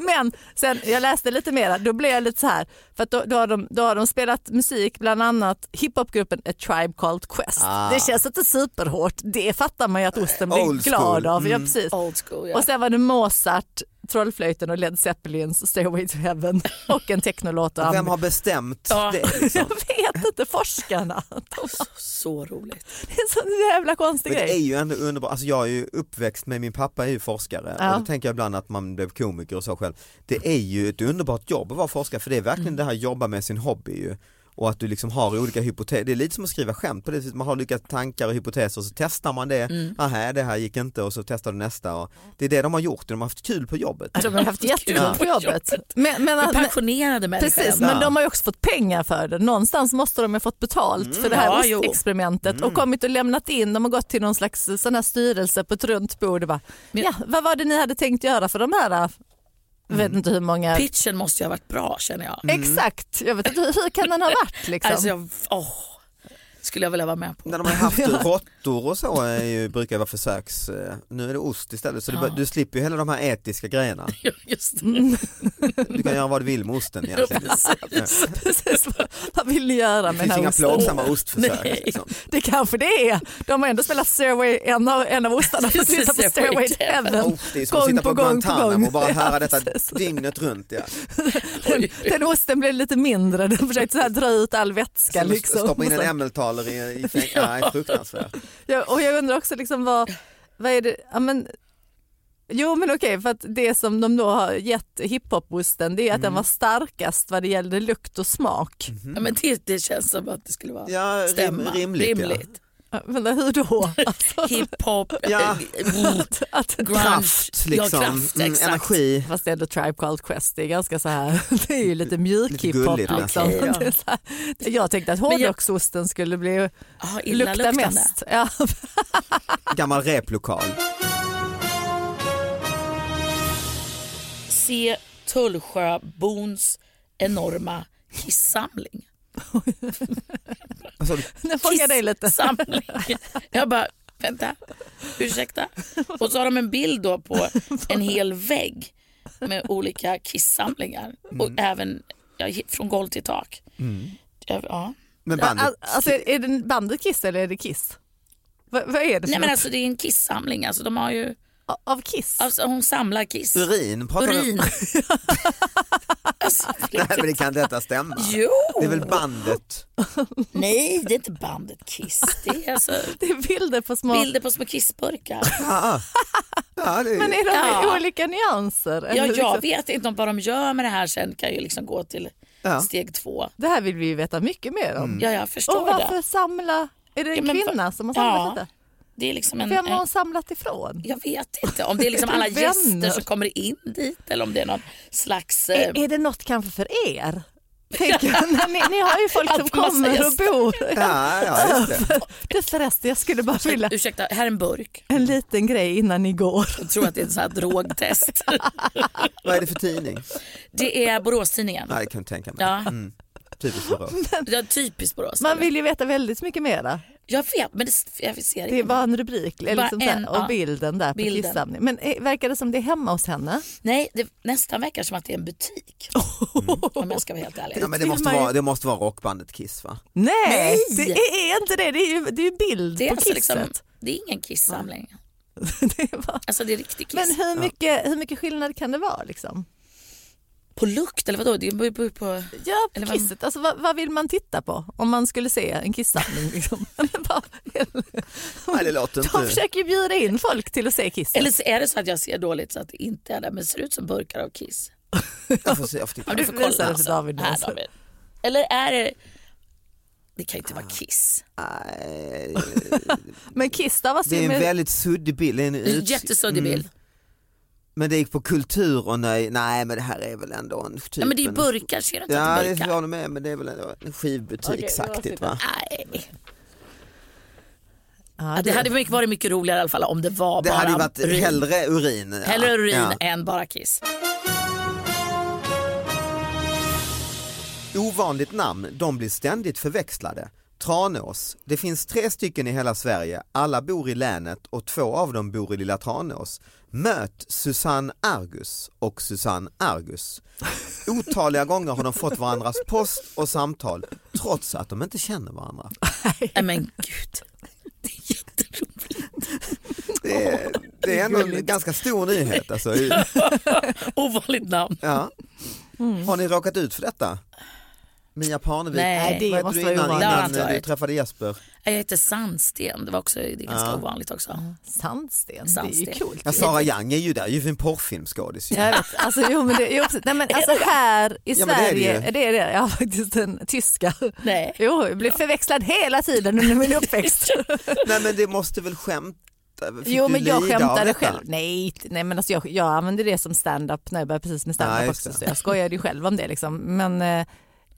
[SPEAKER 3] Men sen jag läste lite mer, då blev jag lite så här, för att då, då, har, de, då har de spelat musik, bland annat hiphopgruppen A Tribe Called Quest.
[SPEAKER 2] Ah.
[SPEAKER 3] Det känns inte superhårt, det fattar man ju att osten blir
[SPEAKER 2] Old
[SPEAKER 3] glad
[SPEAKER 2] school. Mm. Oh,
[SPEAKER 3] av. Ja, precis.
[SPEAKER 4] Old school ja.
[SPEAKER 3] Och sen var det Mozart, Trollflöjten och Led Zeppelins Stairway to Heaven och en technolåt. Och
[SPEAKER 2] Vem har bestämt
[SPEAKER 4] Ja.
[SPEAKER 2] det?
[SPEAKER 3] Jag
[SPEAKER 2] Liksom?
[SPEAKER 3] vet inte, forskarna.
[SPEAKER 4] Så roligt.
[SPEAKER 3] Det är en sån jävla konstig
[SPEAKER 2] Men det är
[SPEAKER 3] grej.
[SPEAKER 2] ju ändå underbart, alltså jag är ju uppväxt med, min pappa är ju forskare
[SPEAKER 3] Ja.
[SPEAKER 2] och då tänker jag ibland att man blev komiker och så själv. Det är ju ett underbart jobb att vara forskare för det är verkligen
[SPEAKER 4] Mm.
[SPEAKER 2] det här jobba med sin hobby ju. Och att du liksom har olika hypoteser, det är lite som att skriva skämt på det viset, man har olika tankar och hypoteser och så testar man det,
[SPEAKER 4] Mm.
[SPEAKER 2] Aha, det här gick inte och så testar du nästa. Och det är det de har gjort, de har haft kul på jobbet.
[SPEAKER 4] Alltså-
[SPEAKER 3] De har haft jättekul på jobbet. Men, men, men-
[SPEAKER 4] Passionerade människor.
[SPEAKER 3] Precis,
[SPEAKER 4] ändå.
[SPEAKER 3] men de har ju också fått pengar för det. Någonstans måste de ju fått betalt
[SPEAKER 2] Mm.
[SPEAKER 3] för det här
[SPEAKER 4] ja, jo.
[SPEAKER 3] ostexperimentet och kommit och lämnat in. De har gått till någon slags eh, sån här styrelse på ett runt bord och bara,
[SPEAKER 4] Men-
[SPEAKER 3] ja, vad var det ni hade tänkt göra för de
[SPEAKER 2] Mm.
[SPEAKER 3] här, jag vet inte hur många,
[SPEAKER 4] Pitchen måste ju ha varit bra känner jag.
[SPEAKER 2] mm.
[SPEAKER 3] exakt, jag vet inte, hur hur kan den ha varit liksom?
[SPEAKER 4] Alltså jag, åh, skulle jag vilja vara med på.
[SPEAKER 2] När de har haft råttor och så är ju, brukar vara försöks, eh, nu är det ost istället så du,
[SPEAKER 4] Ja.
[SPEAKER 2] du slipper ju hela de här etiska grejerna.
[SPEAKER 4] Just det.
[SPEAKER 3] Mm.
[SPEAKER 2] Du kan göra vad du vill med osten egentligen.
[SPEAKER 4] Precis.
[SPEAKER 3] Precis, vad, vad vill ni göra
[SPEAKER 2] Det
[SPEAKER 3] med den
[SPEAKER 2] finns
[SPEAKER 3] här
[SPEAKER 2] inga
[SPEAKER 3] osten? Oh,
[SPEAKER 2] plågsamma ostförsök.
[SPEAKER 4] Nej.
[SPEAKER 2] Liksom.
[SPEAKER 3] Det kanske det är. De har ändå spelat Stairway, en av, en av ostarna får
[SPEAKER 4] Precis,
[SPEAKER 3] sitta på
[SPEAKER 4] Stairway
[SPEAKER 3] Stairway
[SPEAKER 4] to
[SPEAKER 3] to
[SPEAKER 4] Heaven.
[SPEAKER 3] Heaven.
[SPEAKER 2] Oh, det är som att sitta på, Guantanamo och bara höra
[SPEAKER 3] Ja,
[SPEAKER 2] detta
[SPEAKER 3] precis.
[SPEAKER 2] dygnet runt. Ja.
[SPEAKER 3] Den, den osten blev lite mindre, den försökte så här dra ut all
[SPEAKER 2] Så
[SPEAKER 3] vätska.
[SPEAKER 2] måste
[SPEAKER 3] Liksom.
[SPEAKER 2] Stoppa in en ämneltalare i, i fäng- Nej, fruktansvärt.
[SPEAKER 3] Ja, och jag undrar också liksom vad, vad är det, ja, men, jo men okej för att det som de då har gett hiphop-osten det är att den
[SPEAKER 4] Mm.
[SPEAKER 3] var starkast vad det gällde lukt och smak.
[SPEAKER 4] Ja, men det, det känns som att det skulle vara
[SPEAKER 2] Ja, rim,
[SPEAKER 4] stämma.
[SPEAKER 2] rimligt. Ja.
[SPEAKER 3] Ja, Men hur då? Alltså,
[SPEAKER 4] Hiphop,
[SPEAKER 2] Ja.
[SPEAKER 4] eh,
[SPEAKER 3] att,
[SPEAKER 4] grunge,
[SPEAKER 2] Kraft, liksom.
[SPEAKER 4] ja, kraft
[SPEAKER 2] Mm,
[SPEAKER 4] exakt.
[SPEAKER 2] energi.
[SPEAKER 3] fast det är ändå Tribe Called Quest, det är ganska så här, det är ju lite mjuk
[SPEAKER 2] Lite
[SPEAKER 3] hiphop.
[SPEAKER 2] gulligt,
[SPEAKER 4] nästan.
[SPEAKER 3] Liksom. Det är så här, jag tänkte att
[SPEAKER 4] alltså. jag-
[SPEAKER 3] hårdrocksosten skulle bli,
[SPEAKER 4] Ja, illa
[SPEAKER 3] lukta
[SPEAKER 4] luktande.
[SPEAKER 3] mest. Ja,
[SPEAKER 2] Gammal replokal.
[SPEAKER 4] Se Tullsjöbons enorma kissamling.
[SPEAKER 2] Alltså,
[SPEAKER 3] den fångade dig lite.
[SPEAKER 4] Kissamling. Jag bara, vänta, ursäkta. Och så har de en bild då på en hel vägg med olika kissamlingar. Och
[SPEAKER 2] Mm.
[SPEAKER 4] även ja, från golv till tak. Ja, Ja.
[SPEAKER 2] men
[SPEAKER 3] Ja,
[SPEAKER 2] bandet.
[SPEAKER 3] al- Alltså, är är det bandet Kiss eller är det Kiss? Va, vad är det för
[SPEAKER 4] Nej men
[SPEAKER 3] något?
[SPEAKER 4] alltså det är en kissamling. Alltså, de har ju,
[SPEAKER 3] A- Av Kiss?
[SPEAKER 4] alltså, hon samlar kiss.
[SPEAKER 2] Urin, pratar du-
[SPEAKER 4] Urin. alltså,
[SPEAKER 2] Nej men det kan detta stämma?
[SPEAKER 4] jo!
[SPEAKER 2] Det är väl bandet?
[SPEAKER 4] Nej, det är inte bandet Kiss. Det är alltså
[SPEAKER 3] Det är bilder på små...
[SPEAKER 4] bilder på små kissburkar.
[SPEAKER 2] Ja, ja det
[SPEAKER 3] Men
[SPEAKER 2] är...
[SPEAKER 3] är de
[SPEAKER 4] Ja.
[SPEAKER 3] i olika nyanser? Eller
[SPEAKER 4] Ja, jag
[SPEAKER 3] liksom-
[SPEAKER 4] vet inte om vad de gör med det här sen kan ju liksom gå till
[SPEAKER 2] Ja.
[SPEAKER 4] steg två.
[SPEAKER 3] Det här vill vi ju veta mycket mer om.
[SPEAKER 4] Mm. Ja, jag förstår
[SPEAKER 3] Och
[SPEAKER 4] det.
[SPEAKER 3] varför samla... Är det
[SPEAKER 4] Ja,
[SPEAKER 3] en
[SPEAKER 4] men va-
[SPEAKER 3] kvinna som har samlat
[SPEAKER 4] Ja.
[SPEAKER 3] detta?
[SPEAKER 4] det är liksom en,
[SPEAKER 3] Vem har
[SPEAKER 4] en-
[SPEAKER 3] hon samlat ifrån?
[SPEAKER 4] jag vet inte om det är liksom alla
[SPEAKER 3] Vänner.
[SPEAKER 4] gäster som kommer in dit eller om det är någon slags... eh,
[SPEAKER 3] Är, är det något kanske för er? Tänker jag. Nej, ni, ni har ju folk som
[SPEAKER 4] Alltid massa
[SPEAKER 3] kommer och
[SPEAKER 4] gäster.
[SPEAKER 3] bor.
[SPEAKER 2] Ja, ja, just det.
[SPEAKER 3] Du förresten, jag skulle bara vilja
[SPEAKER 4] Ursäkta, här är en burk.
[SPEAKER 3] en liten grej innan ni går.
[SPEAKER 4] Jag tror att det är ett så här drogtest.
[SPEAKER 2] Vad är det för tidning?
[SPEAKER 4] Det är Boråstidningen.
[SPEAKER 2] Nej, det kan jag inte tänka mig.
[SPEAKER 4] Ja,
[SPEAKER 2] Typiskt Borås.
[SPEAKER 4] ja typiskt Borås.
[SPEAKER 3] Man vill ju veta väldigt mycket mera.
[SPEAKER 4] Jag vet, men det, jag ser
[SPEAKER 3] Det är
[SPEAKER 4] inte.
[SPEAKER 3] bara en rubrik eller
[SPEAKER 4] Bara
[SPEAKER 3] liksom så här,
[SPEAKER 4] en,
[SPEAKER 3] och
[SPEAKER 4] ja.
[SPEAKER 3] bilden där på
[SPEAKER 4] Bilden.
[SPEAKER 3] kissamning. Men eh, verkar det som det är hemma hos henne?
[SPEAKER 4] Nej, det nästan verkar som att det är en butik. Om jag ska vara helt ärlig.
[SPEAKER 2] Ja, men det,
[SPEAKER 3] vill
[SPEAKER 2] måste
[SPEAKER 3] man ju-
[SPEAKER 2] vara, det måste vara rockbandet Kiss va?
[SPEAKER 3] Nej,
[SPEAKER 4] Nej!
[SPEAKER 3] det är inte det. Det är ju, det är ju bild
[SPEAKER 4] Det är,
[SPEAKER 3] på
[SPEAKER 4] alltså
[SPEAKER 3] kisset.
[SPEAKER 4] liksom, det är ingen kissamling.
[SPEAKER 3] det är bara...
[SPEAKER 4] Alltså det är riktig kiss.
[SPEAKER 3] Men hur mycket, hur mycket skillnad kan det vara? Liksom?
[SPEAKER 4] På lukt eller vadå? Det beror på, på...
[SPEAKER 3] Ja, på
[SPEAKER 4] Eller vad-
[SPEAKER 3] kisset. Alltså, vad, vad vill man titta på om man skulle se en kissamling? Liksom? Men vad-
[SPEAKER 2] Nej, det låter
[SPEAKER 3] De
[SPEAKER 2] inte...
[SPEAKER 3] försöker ju bjuda in folk till att se kisset.
[SPEAKER 4] Eller så är det så att jag ser dåligt så att det inte är det, men det ser ut som burkar av kiss.
[SPEAKER 2] Jag får se, jag får titta.
[SPEAKER 4] Ja, du får kolla
[SPEAKER 3] Visar det för
[SPEAKER 4] alltså.
[SPEAKER 3] David nu,
[SPEAKER 4] Här,
[SPEAKER 3] alltså.
[SPEAKER 4] David. Eller är det... Det kan ju inte vara kiss.
[SPEAKER 2] Nej,
[SPEAKER 3] Men kiss stavas
[SPEAKER 2] Det är
[SPEAKER 3] ju
[SPEAKER 2] en
[SPEAKER 3] med...
[SPEAKER 2] väldigt suddig bild. Det är en
[SPEAKER 4] Det är en
[SPEAKER 2] ut...
[SPEAKER 4] jättesuddig bild.
[SPEAKER 2] Men det gick på kultur och nej, nej men det här är väl ändå en typ
[SPEAKER 4] Nej, men det är
[SPEAKER 2] en-
[SPEAKER 4] burkar, ser du inte
[SPEAKER 2] Ja
[SPEAKER 4] att det
[SPEAKER 2] det
[SPEAKER 4] är burkar?
[SPEAKER 2] är jag med men det är väl ändå en skivbutiksaktigt va?
[SPEAKER 4] Nej.
[SPEAKER 3] Ja,
[SPEAKER 4] Ja, det hade mycket- varit mycket roligare i alla fall om det var
[SPEAKER 2] Det
[SPEAKER 4] bara
[SPEAKER 2] hade ju varit
[SPEAKER 4] urin.
[SPEAKER 2] hellre urin. Ja.
[SPEAKER 4] Hellre urin
[SPEAKER 2] Ja.
[SPEAKER 4] än bara kiss.
[SPEAKER 2] Ovanligt namn, de blir ständigt förväxlade. Tranås, det finns tre stycken i hela Sverige, alla bor i länet och två av dem bor i lilla Tranås. Möt Susanne Argus och Susanne Argus. Otaliga gånger har de fått varandras post och samtal trots att de inte känner varandra.
[SPEAKER 4] Nej men gud. Det är jätteroligt.
[SPEAKER 2] Det är, det är ändå en ganska stor nyhet. Alltså.
[SPEAKER 4] Ovanligt namn.
[SPEAKER 2] Ja. Har ni råkat ut för detta? Mia Parnevik,
[SPEAKER 4] Nej,
[SPEAKER 2] Vad
[SPEAKER 3] det
[SPEAKER 2] hette
[SPEAKER 3] måste
[SPEAKER 2] du
[SPEAKER 3] vara
[SPEAKER 2] innan,
[SPEAKER 3] ovanligt.
[SPEAKER 4] Det har jag
[SPEAKER 2] innan
[SPEAKER 4] inte
[SPEAKER 2] du
[SPEAKER 4] varit.
[SPEAKER 2] träffade Jesper?
[SPEAKER 4] Jag heter Sandsten, det var också det är ganska ovanligt också.
[SPEAKER 3] Sandsten. det är
[SPEAKER 4] Sandsten.
[SPEAKER 3] ju coolt.
[SPEAKER 2] Ja, Sara Young är ju där, ju en porrfilmskådis. ju.
[SPEAKER 3] Jag vet, alltså, jo, men det, jo, precis. Nej, men, alltså, här i
[SPEAKER 2] Ja, men det är det
[SPEAKER 3] Sverige,
[SPEAKER 2] ju.
[SPEAKER 3] det är det. Jag har faktiskt en tyska.
[SPEAKER 4] Nej.
[SPEAKER 3] Jo, jag blev förväxlad hela tiden under min uppväxt.
[SPEAKER 2] Nej men det måste väl skämta? Fick
[SPEAKER 3] jo,
[SPEAKER 2] du
[SPEAKER 3] men jag
[SPEAKER 2] lida av
[SPEAKER 3] skämtade
[SPEAKER 2] detta?
[SPEAKER 3] själv. Nej, t- nej men alltså, jag, jag använde det som stand-up när jag började precis med stand-up
[SPEAKER 2] Ja, just
[SPEAKER 3] också.
[SPEAKER 2] det.
[SPEAKER 3] Så jag skojade ju själv om det liksom. Men, eh,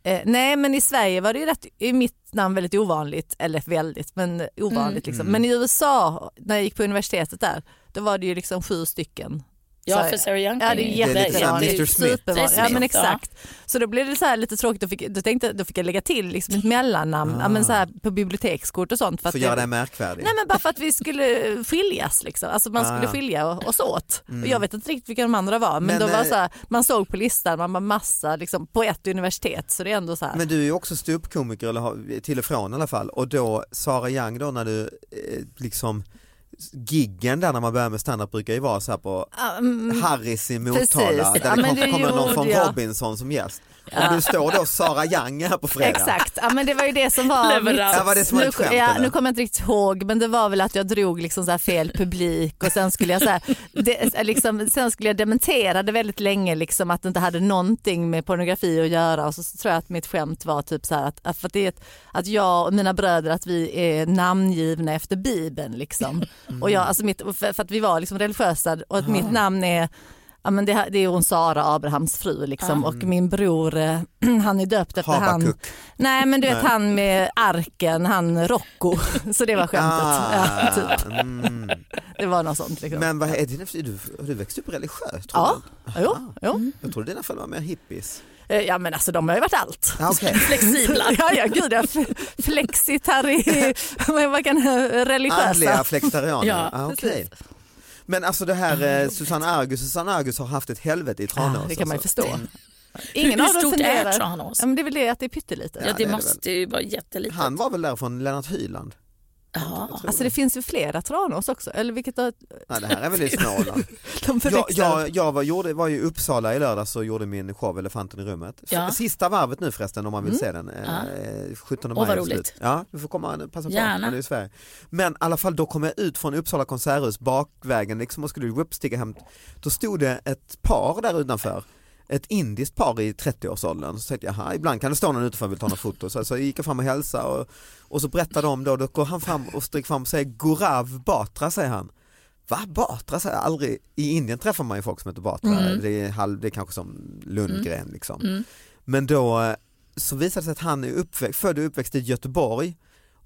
[SPEAKER 3] eh, nej, men i Sverige var det ju rätt, i mitt namn väldigt ovanligt, eller väldigt, men ovanligt
[SPEAKER 2] Mm.
[SPEAKER 3] liksom. Men i USA, när jag gick på universitetet där, då var det ju liksom sju stycken.
[SPEAKER 4] Ja,
[SPEAKER 3] Så-
[SPEAKER 4] för Sarah Young.
[SPEAKER 3] Ja det är
[SPEAKER 2] Det är lite grann
[SPEAKER 3] jättevanligt.
[SPEAKER 2] Mr. Smith.
[SPEAKER 3] Supervanligt. Ja
[SPEAKER 4] Smith,
[SPEAKER 3] men
[SPEAKER 4] ja.
[SPEAKER 3] exakt. Så då blev det så här lite tråkigt, då fick, då tänkte, då fick jag lägga till liksom ett mellannamn ja, men så här, på bibliotekskort och sånt. För att
[SPEAKER 2] För att
[SPEAKER 3] jag-
[SPEAKER 2] göra dig märkvärdig.
[SPEAKER 3] Nej men bara för att vi skulle skiljas liksom. Alltså man
[SPEAKER 2] Ah,
[SPEAKER 3] skulle
[SPEAKER 2] ja.
[SPEAKER 3] skilja o- oss åt. Och jag vet inte riktigt vilka de andra var men,
[SPEAKER 2] Men,
[SPEAKER 3] då var
[SPEAKER 2] eh,
[SPEAKER 3] så här, man såg på listan, man var massa liksom, på ett universitet så det är ändå så här.
[SPEAKER 2] Men du är ju också ståuppkomiker, eller har- till och från i alla fall, och då Sara Young då när du eh, liksom giggen där när man börjar med standup brukar ju vara så här på Harris i Motala
[SPEAKER 3] mm. precis.
[SPEAKER 2] där
[SPEAKER 3] Ja,
[SPEAKER 2] det
[SPEAKER 3] men
[SPEAKER 2] kanske
[SPEAKER 3] det
[SPEAKER 2] kommer någon
[SPEAKER 3] gjorde
[SPEAKER 2] från
[SPEAKER 3] jag.
[SPEAKER 2] Robinson som gäst. Och du står då Sara Young här på fredag.
[SPEAKER 3] Exakt, ja, men det var ju det som var
[SPEAKER 4] Leverans.
[SPEAKER 2] Ja, var det som var
[SPEAKER 3] nu,
[SPEAKER 2] ett skämt,
[SPEAKER 3] ja,
[SPEAKER 2] eller?
[SPEAKER 3] nu kommer jag inte riktigt ihåg men det var väl att jag drog liksom så här fel publik och sen skulle jag, så här, det, liksom, sen skulle jag dementera det väldigt länge liksom, att det inte hade någonting med pornografi att göra och så, så tror jag att mitt skämt var typ så här att, att, för att, det är ett, att jag och mina bröder att vi är namngivna efter Bibeln. Liksom.
[SPEAKER 2] Mm.
[SPEAKER 3] Och jag, alltså mitt, för, för att vi var liksom religiösa och att
[SPEAKER 2] Ah.
[SPEAKER 3] mitt namn är Ja, men det, det är hon Sara, Abrahams fru, liksom.
[SPEAKER 2] Ah.
[SPEAKER 3] och min bror eh, han är döpt efter han,
[SPEAKER 2] Habakuk.
[SPEAKER 3] Nej men du vet han med arken, han Rocco. Så det var skämtet. Ja, typ.
[SPEAKER 2] Ah, mm.
[SPEAKER 3] Det var något sånt. Liksom.
[SPEAKER 2] Men vad är din, du, har du växt upp religiöst? tror
[SPEAKER 3] ja,
[SPEAKER 2] du?
[SPEAKER 3] jo, jo.
[SPEAKER 2] Jag trodde dina föräldrar var mer hippies.
[SPEAKER 3] Eh, ja men alltså de har ju varit allt.
[SPEAKER 2] Ah, okej.
[SPEAKER 4] Flexibla.
[SPEAKER 3] Ja, ja gud ja. Flexitari, vad vad kan religiösa.
[SPEAKER 2] Andliga flexitarianer.
[SPEAKER 4] Ja,
[SPEAKER 2] ah, okej. Men alltså det här eh, Susanne Argus, Susanne Argus har haft ett helvete i Tranås.
[SPEAKER 3] Mm. Ja, det kan man ju
[SPEAKER 2] alltså.
[SPEAKER 3] förstå. Ingen
[SPEAKER 4] Hur
[SPEAKER 3] av dem
[SPEAKER 4] stort är
[SPEAKER 3] funderar.
[SPEAKER 4] Tranås?
[SPEAKER 3] Ja, men det är väl det att det är pyttelitet.
[SPEAKER 4] Ja,
[SPEAKER 2] det är
[SPEAKER 4] det
[SPEAKER 2] det
[SPEAKER 4] måste ju vara jättelitet.
[SPEAKER 2] Han var väl där från Lennart Hyland?
[SPEAKER 4] Ja.
[SPEAKER 3] Alltså det finns ju flera Tranås också. Eller vilket av-
[SPEAKER 2] Nej det här är väl i Småland.
[SPEAKER 3] de
[SPEAKER 2] jag
[SPEAKER 3] förväxlar.
[SPEAKER 2] jag, jag var, gjorde, var ju i Uppsala i lördags och gjorde min show Elefanten i rummet. F-
[SPEAKER 4] Ja. Mm.
[SPEAKER 2] Sista varvet nu förresten om man vill se den. Eh, 17 maj.
[SPEAKER 4] Åh, vad
[SPEAKER 2] är det slut.
[SPEAKER 4] roligt.
[SPEAKER 2] Ja, du får komma och passa på.
[SPEAKER 4] Gärna.
[SPEAKER 2] men det är i Sverige. Men i alla fall då kom jag ut från Uppsala konserthus bakvägen liksom, och skulle uppstiga hem. Då stod det ett par där utanför. ett indiskt par i 30-årsåldern. Så tänkte jag, "Jaha, ibland kan det stå någon utanför och vill ta några foto. Så, så jag gick jag fram och hälsade och, och så berättade de då, då går han fram och sträcker fram och säger Gorav Batra säger han. Va Batra säger jag aldrig, i Indien träffar man ju folk som heter Batra,
[SPEAKER 4] Mm.
[SPEAKER 2] det, är halv, det är kanske som Lundgren liksom.
[SPEAKER 4] Mm.
[SPEAKER 2] Men då eh, så visade det sig att han är uppväxt, född och uppväxt i Göteborg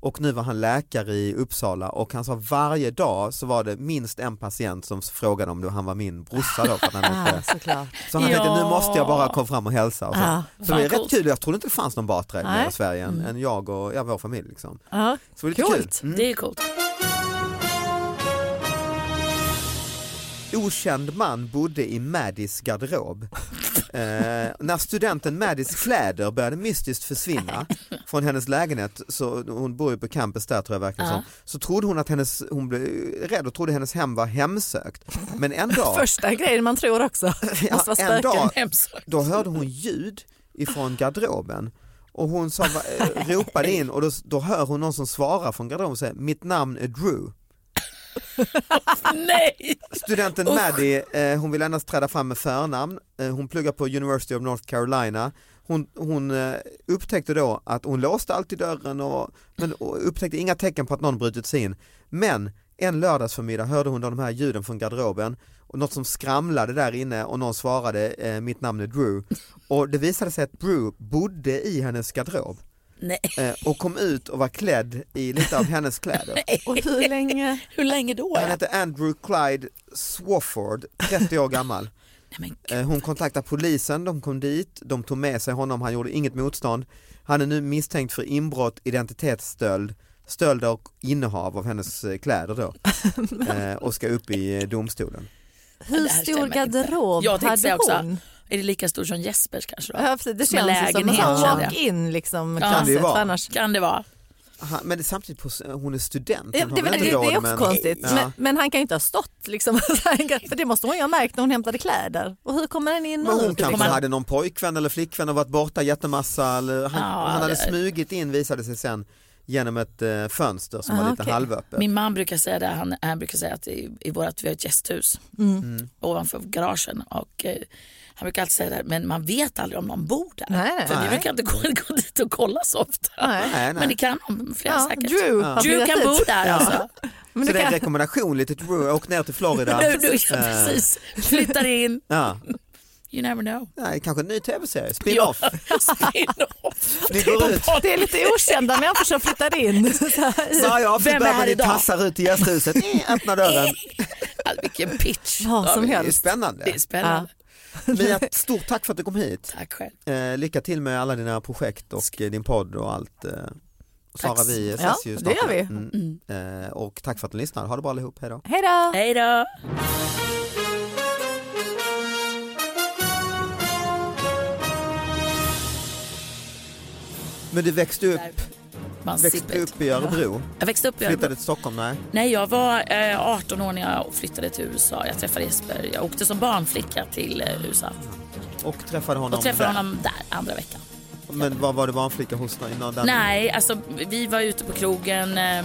[SPEAKER 2] och nu var han läkare i Uppsala och han sa varje dag så var det minst en patient som frågade om det, han var min brorsa då. För att han
[SPEAKER 3] Ah,
[SPEAKER 2] hette.
[SPEAKER 3] såklart.
[SPEAKER 2] Så han tänkte nu
[SPEAKER 4] Ja.
[SPEAKER 2] måste jag bara komma fram och hälsa. Och så.
[SPEAKER 3] Ja,
[SPEAKER 2] Så det
[SPEAKER 4] Fan,
[SPEAKER 2] är
[SPEAKER 4] coolt.
[SPEAKER 2] rätt kul, jag trodde inte det fanns någon Batra i
[SPEAKER 3] Nej.
[SPEAKER 2] hela Sverige än,
[SPEAKER 4] Mm.
[SPEAKER 2] än jag och ja, vår familj. Liksom.
[SPEAKER 3] ja.
[SPEAKER 2] Så det var lite
[SPEAKER 3] Coolt.
[SPEAKER 2] kul. Mm.
[SPEAKER 4] Det är coolt.
[SPEAKER 2] Okänd man bodde i Maddys garderob. eh, när studenten Maddys kläder började mystiskt försvinna från hennes lägenhet, så, hon bor ju på campus där tror jag verkligen
[SPEAKER 4] Ja.
[SPEAKER 2] som, så trodde hon att hennes, hon blev rädd och trodde hennes hem var hemsökt. Men en dag,
[SPEAKER 3] Första grejen man tror också.
[SPEAKER 2] Ja,
[SPEAKER 3] Måste vara
[SPEAKER 2] en dag
[SPEAKER 3] spöken.
[SPEAKER 4] Hemskt.
[SPEAKER 2] då hörde hon ljud ifrån garderoben och hon sa, va- eh, ropade in och då, då hör hon någon som svarar från garderoben och säger mitt namn är Drew.
[SPEAKER 4] Nej!
[SPEAKER 2] Studenten Maddie, eh, hon vill endast träda fram med förnamn. Eh, hon pluggar på University of North Carolina. Hon, hon eh, upptäckte då att hon låste alltid dörren och, men, och upptäckte inga tecken på att någon brutit sig in. Men en lördagsförmiddag hörde hon då de här ljuden från garderoben och något som skramlade där inne och någon svarade eh, mitt namn är Drew och det visade sig att Drew bodde i hennes garderob
[SPEAKER 4] Nej.
[SPEAKER 2] eh, och kom ut och var klädd i lite av hennes kläder.
[SPEAKER 3] Och hur länge?
[SPEAKER 4] Hur länge då?
[SPEAKER 2] Han heter Andrew Clyde Swafford, 30 år gammal.
[SPEAKER 4] Nej, men
[SPEAKER 2] Eh, Hon kontaktade polisen, de kom dit, de tog med sig honom, han gjorde inget motstånd. Han är nu misstänkt för inbrott, identitetsstöld, stöld och innehav av hennes eh, kläder då. Eh, och ska upp i eh, domstolen.
[SPEAKER 3] Hur
[SPEAKER 4] Det här
[SPEAKER 3] stor
[SPEAKER 4] stämmer inte.
[SPEAKER 3] garderob
[SPEAKER 4] Jag tänkte
[SPEAKER 3] hade
[SPEAKER 4] säga också,
[SPEAKER 3] hon?
[SPEAKER 4] Är det lika stor som Jespers kanske? Då?
[SPEAKER 3] Ja, precis. Det
[SPEAKER 4] Som en
[SPEAKER 3] känns ju som en
[SPEAKER 4] lägenhet,
[SPEAKER 3] sån
[SPEAKER 4] kände jag.
[SPEAKER 3] walk-in liksom,
[SPEAKER 4] Ja.
[SPEAKER 2] Kan det ju
[SPEAKER 3] closet,
[SPEAKER 2] vara.
[SPEAKER 3] för annars
[SPEAKER 4] Kan det vara?
[SPEAKER 2] Han, men det är samtidigt, på, hon är student.
[SPEAKER 3] Ja,
[SPEAKER 2] hon
[SPEAKER 3] det,
[SPEAKER 2] har
[SPEAKER 3] det,
[SPEAKER 2] väl
[SPEAKER 3] det
[SPEAKER 2] inte råd
[SPEAKER 3] är
[SPEAKER 2] med
[SPEAKER 3] också
[SPEAKER 2] en-
[SPEAKER 3] konstigt.
[SPEAKER 2] Ja.
[SPEAKER 3] Men, men han kan ju inte ha stått liksom. För det måste hon ju ha märkt när hon hämtade kläder. Och hur kommer den in
[SPEAKER 2] Men
[SPEAKER 3] nu?
[SPEAKER 2] hon kanske
[SPEAKER 4] kommer-
[SPEAKER 2] hade någon pojkvän eller flickvän och varit borta jättemassa. Eller han,
[SPEAKER 4] Ja,
[SPEAKER 2] han hade
[SPEAKER 4] det-
[SPEAKER 2] smugit in visade sig sen genom ett eh, fönster som
[SPEAKER 3] Ah,
[SPEAKER 2] var lite
[SPEAKER 3] okej.
[SPEAKER 2] halvöppet.
[SPEAKER 4] Min man brukar säga det, han, han brukar säga att i, i vårat, vi har ett gästhus
[SPEAKER 3] Mm.
[SPEAKER 4] ovanför garagen och eh, han brukar alltid säga det, här, men man vet aldrig om någon bor där.
[SPEAKER 3] Nej, nej.
[SPEAKER 4] För vi
[SPEAKER 2] Nej.
[SPEAKER 4] brukar inte gå, gå dit och kolla så ofta.
[SPEAKER 3] Nej.
[SPEAKER 2] Nej, nej.
[SPEAKER 4] Men det kan de, flera
[SPEAKER 3] Ja,
[SPEAKER 4] säkert.
[SPEAKER 3] Drew,
[SPEAKER 2] Ja.
[SPEAKER 3] har
[SPEAKER 4] Drew
[SPEAKER 3] bjudit
[SPEAKER 4] kan
[SPEAKER 3] hit.
[SPEAKER 4] bo där alltså.
[SPEAKER 3] Men
[SPEAKER 2] så
[SPEAKER 3] du
[SPEAKER 2] det är en
[SPEAKER 3] kan,
[SPEAKER 2] rekommendation, lite Drew, åk ner till Florida.
[SPEAKER 4] Du, du, ja,
[SPEAKER 2] Eh,
[SPEAKER 4] precis. Flyttar in,
[SPEAKER 2] Ja.
[SPEAKER 4] you never know.
[SPEAKER 2] Nej, kanske en ny tv-serie, spin-off.
[SPEAKER 4] Spin-off.
[SPEAKER 2] Ni går ut.
[SPEAKER 3] det är lite okända människor som flyttar in. Så här,
[SPEAKER 2] Varje avsnitt
[SPEAKER 4] Vem är här
[SPEAKER 2] behöver ni
[SPEAKER 4] idag?
[SPEAKER 2] tassar ut i gästhuset, Eh, öppna dörren.
[SPEAKER 4] Alltså, Vilken pitch.
[SPEAKER 3] Vad
[SPEAKER 4] Ja,
[SPEAKER 3] som
[SPEAKER 2] Det är ju
[SPEAKER 3] helst.
[SPEAKER 2] spännande.
[SPEAKER 4] Det är spännande.
[SPEAKER 2] Mia, stort tack för att du kom hit.
[SPEAKER 4] Tack själv.
[SPEAKER 2] Eh, lycka till med alla dina projekt och eh, din podd och allt. Eh, Sara,
[SPEAKER 4] Tack.
[SPEAKER 2] vi ses
[SPEAKER 3] Ja,
[SPEAKER 2] ju
[SPEAKER 3] det
[SPEAKER 2] snart.
[SPEAKER 3] gör vi.
[SPEAKER 2] Mm. Eh, och tack för att du lyssnade. Ha det bra allihop, hej då.
[SPEAKER 3] Hej då!
[SPEAKER 4] Hej då.
[SPEAKER 2] Men du växte upp,
[SPEAKER 4] Man
[SPEAKER 2] växte
[SPEAKER 4] sippet.
[SPEAKER 2] upp i Örebro,
[SPEAKER 4] Jag växte upp i Örebro.
[SPEAKER 2] flyttade till Stockholm, nej.
[SPEAKER 4] Nej, jag var eh, 18 år när jag flyttade till USA. Jag träffade Jesper. Jag åkte som barnflicka till eh, USA
[SPEAKER 2] Och träffade honom
[SPEAKER 4] och träffade
[SPEAKER 2] där.
[SPEAKER 4] honom där andra veckan.
[SPEAKER 2] Men vad var det barnflicka hos någon? någon där?
[SPEAKER 4] Nej, alltså vi var ute på krogen, eh,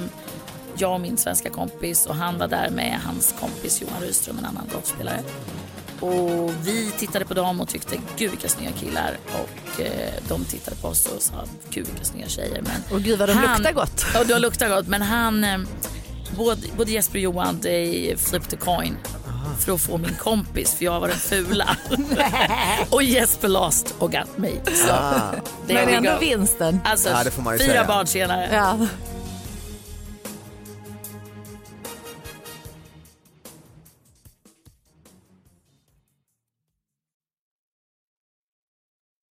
[SPEAKER 4] jag och min svenska kompis och han var där med hans kompis Johan Rydström, en annan golfspelare. Och vi tittade på dem och tyckte gud vilka snygga killar och eh, de tittade på oss och sa gud vilka snygga tjejer. Men
[SPEAKER 3] Och gud vad de luktar gott.
[SPEAKER 4] Ja, de luktar gott. Men han, eh, både, både Jesper och Johan, de flipped a coin för att få min kompis för jag var den fula. och Jesper lost och got me. Så,
[SPEAKER 2] Ah,
[SPEAKER 4] there
[SPEAKER 3] Men
[SPEAKER 4] we
[SPEAKER 3] ändå
[SPEAKER 4] go.
[SPEAKER 3] vinsten.
[SPEAKER 4] Alltså,
[SPEAKER 2] Ja, det får man ju
[SPEAKER 4] fyra
[SPEAKER 2] säga.
[SPEAKER 4] barn senare.
[SPEAKER 3] Ja.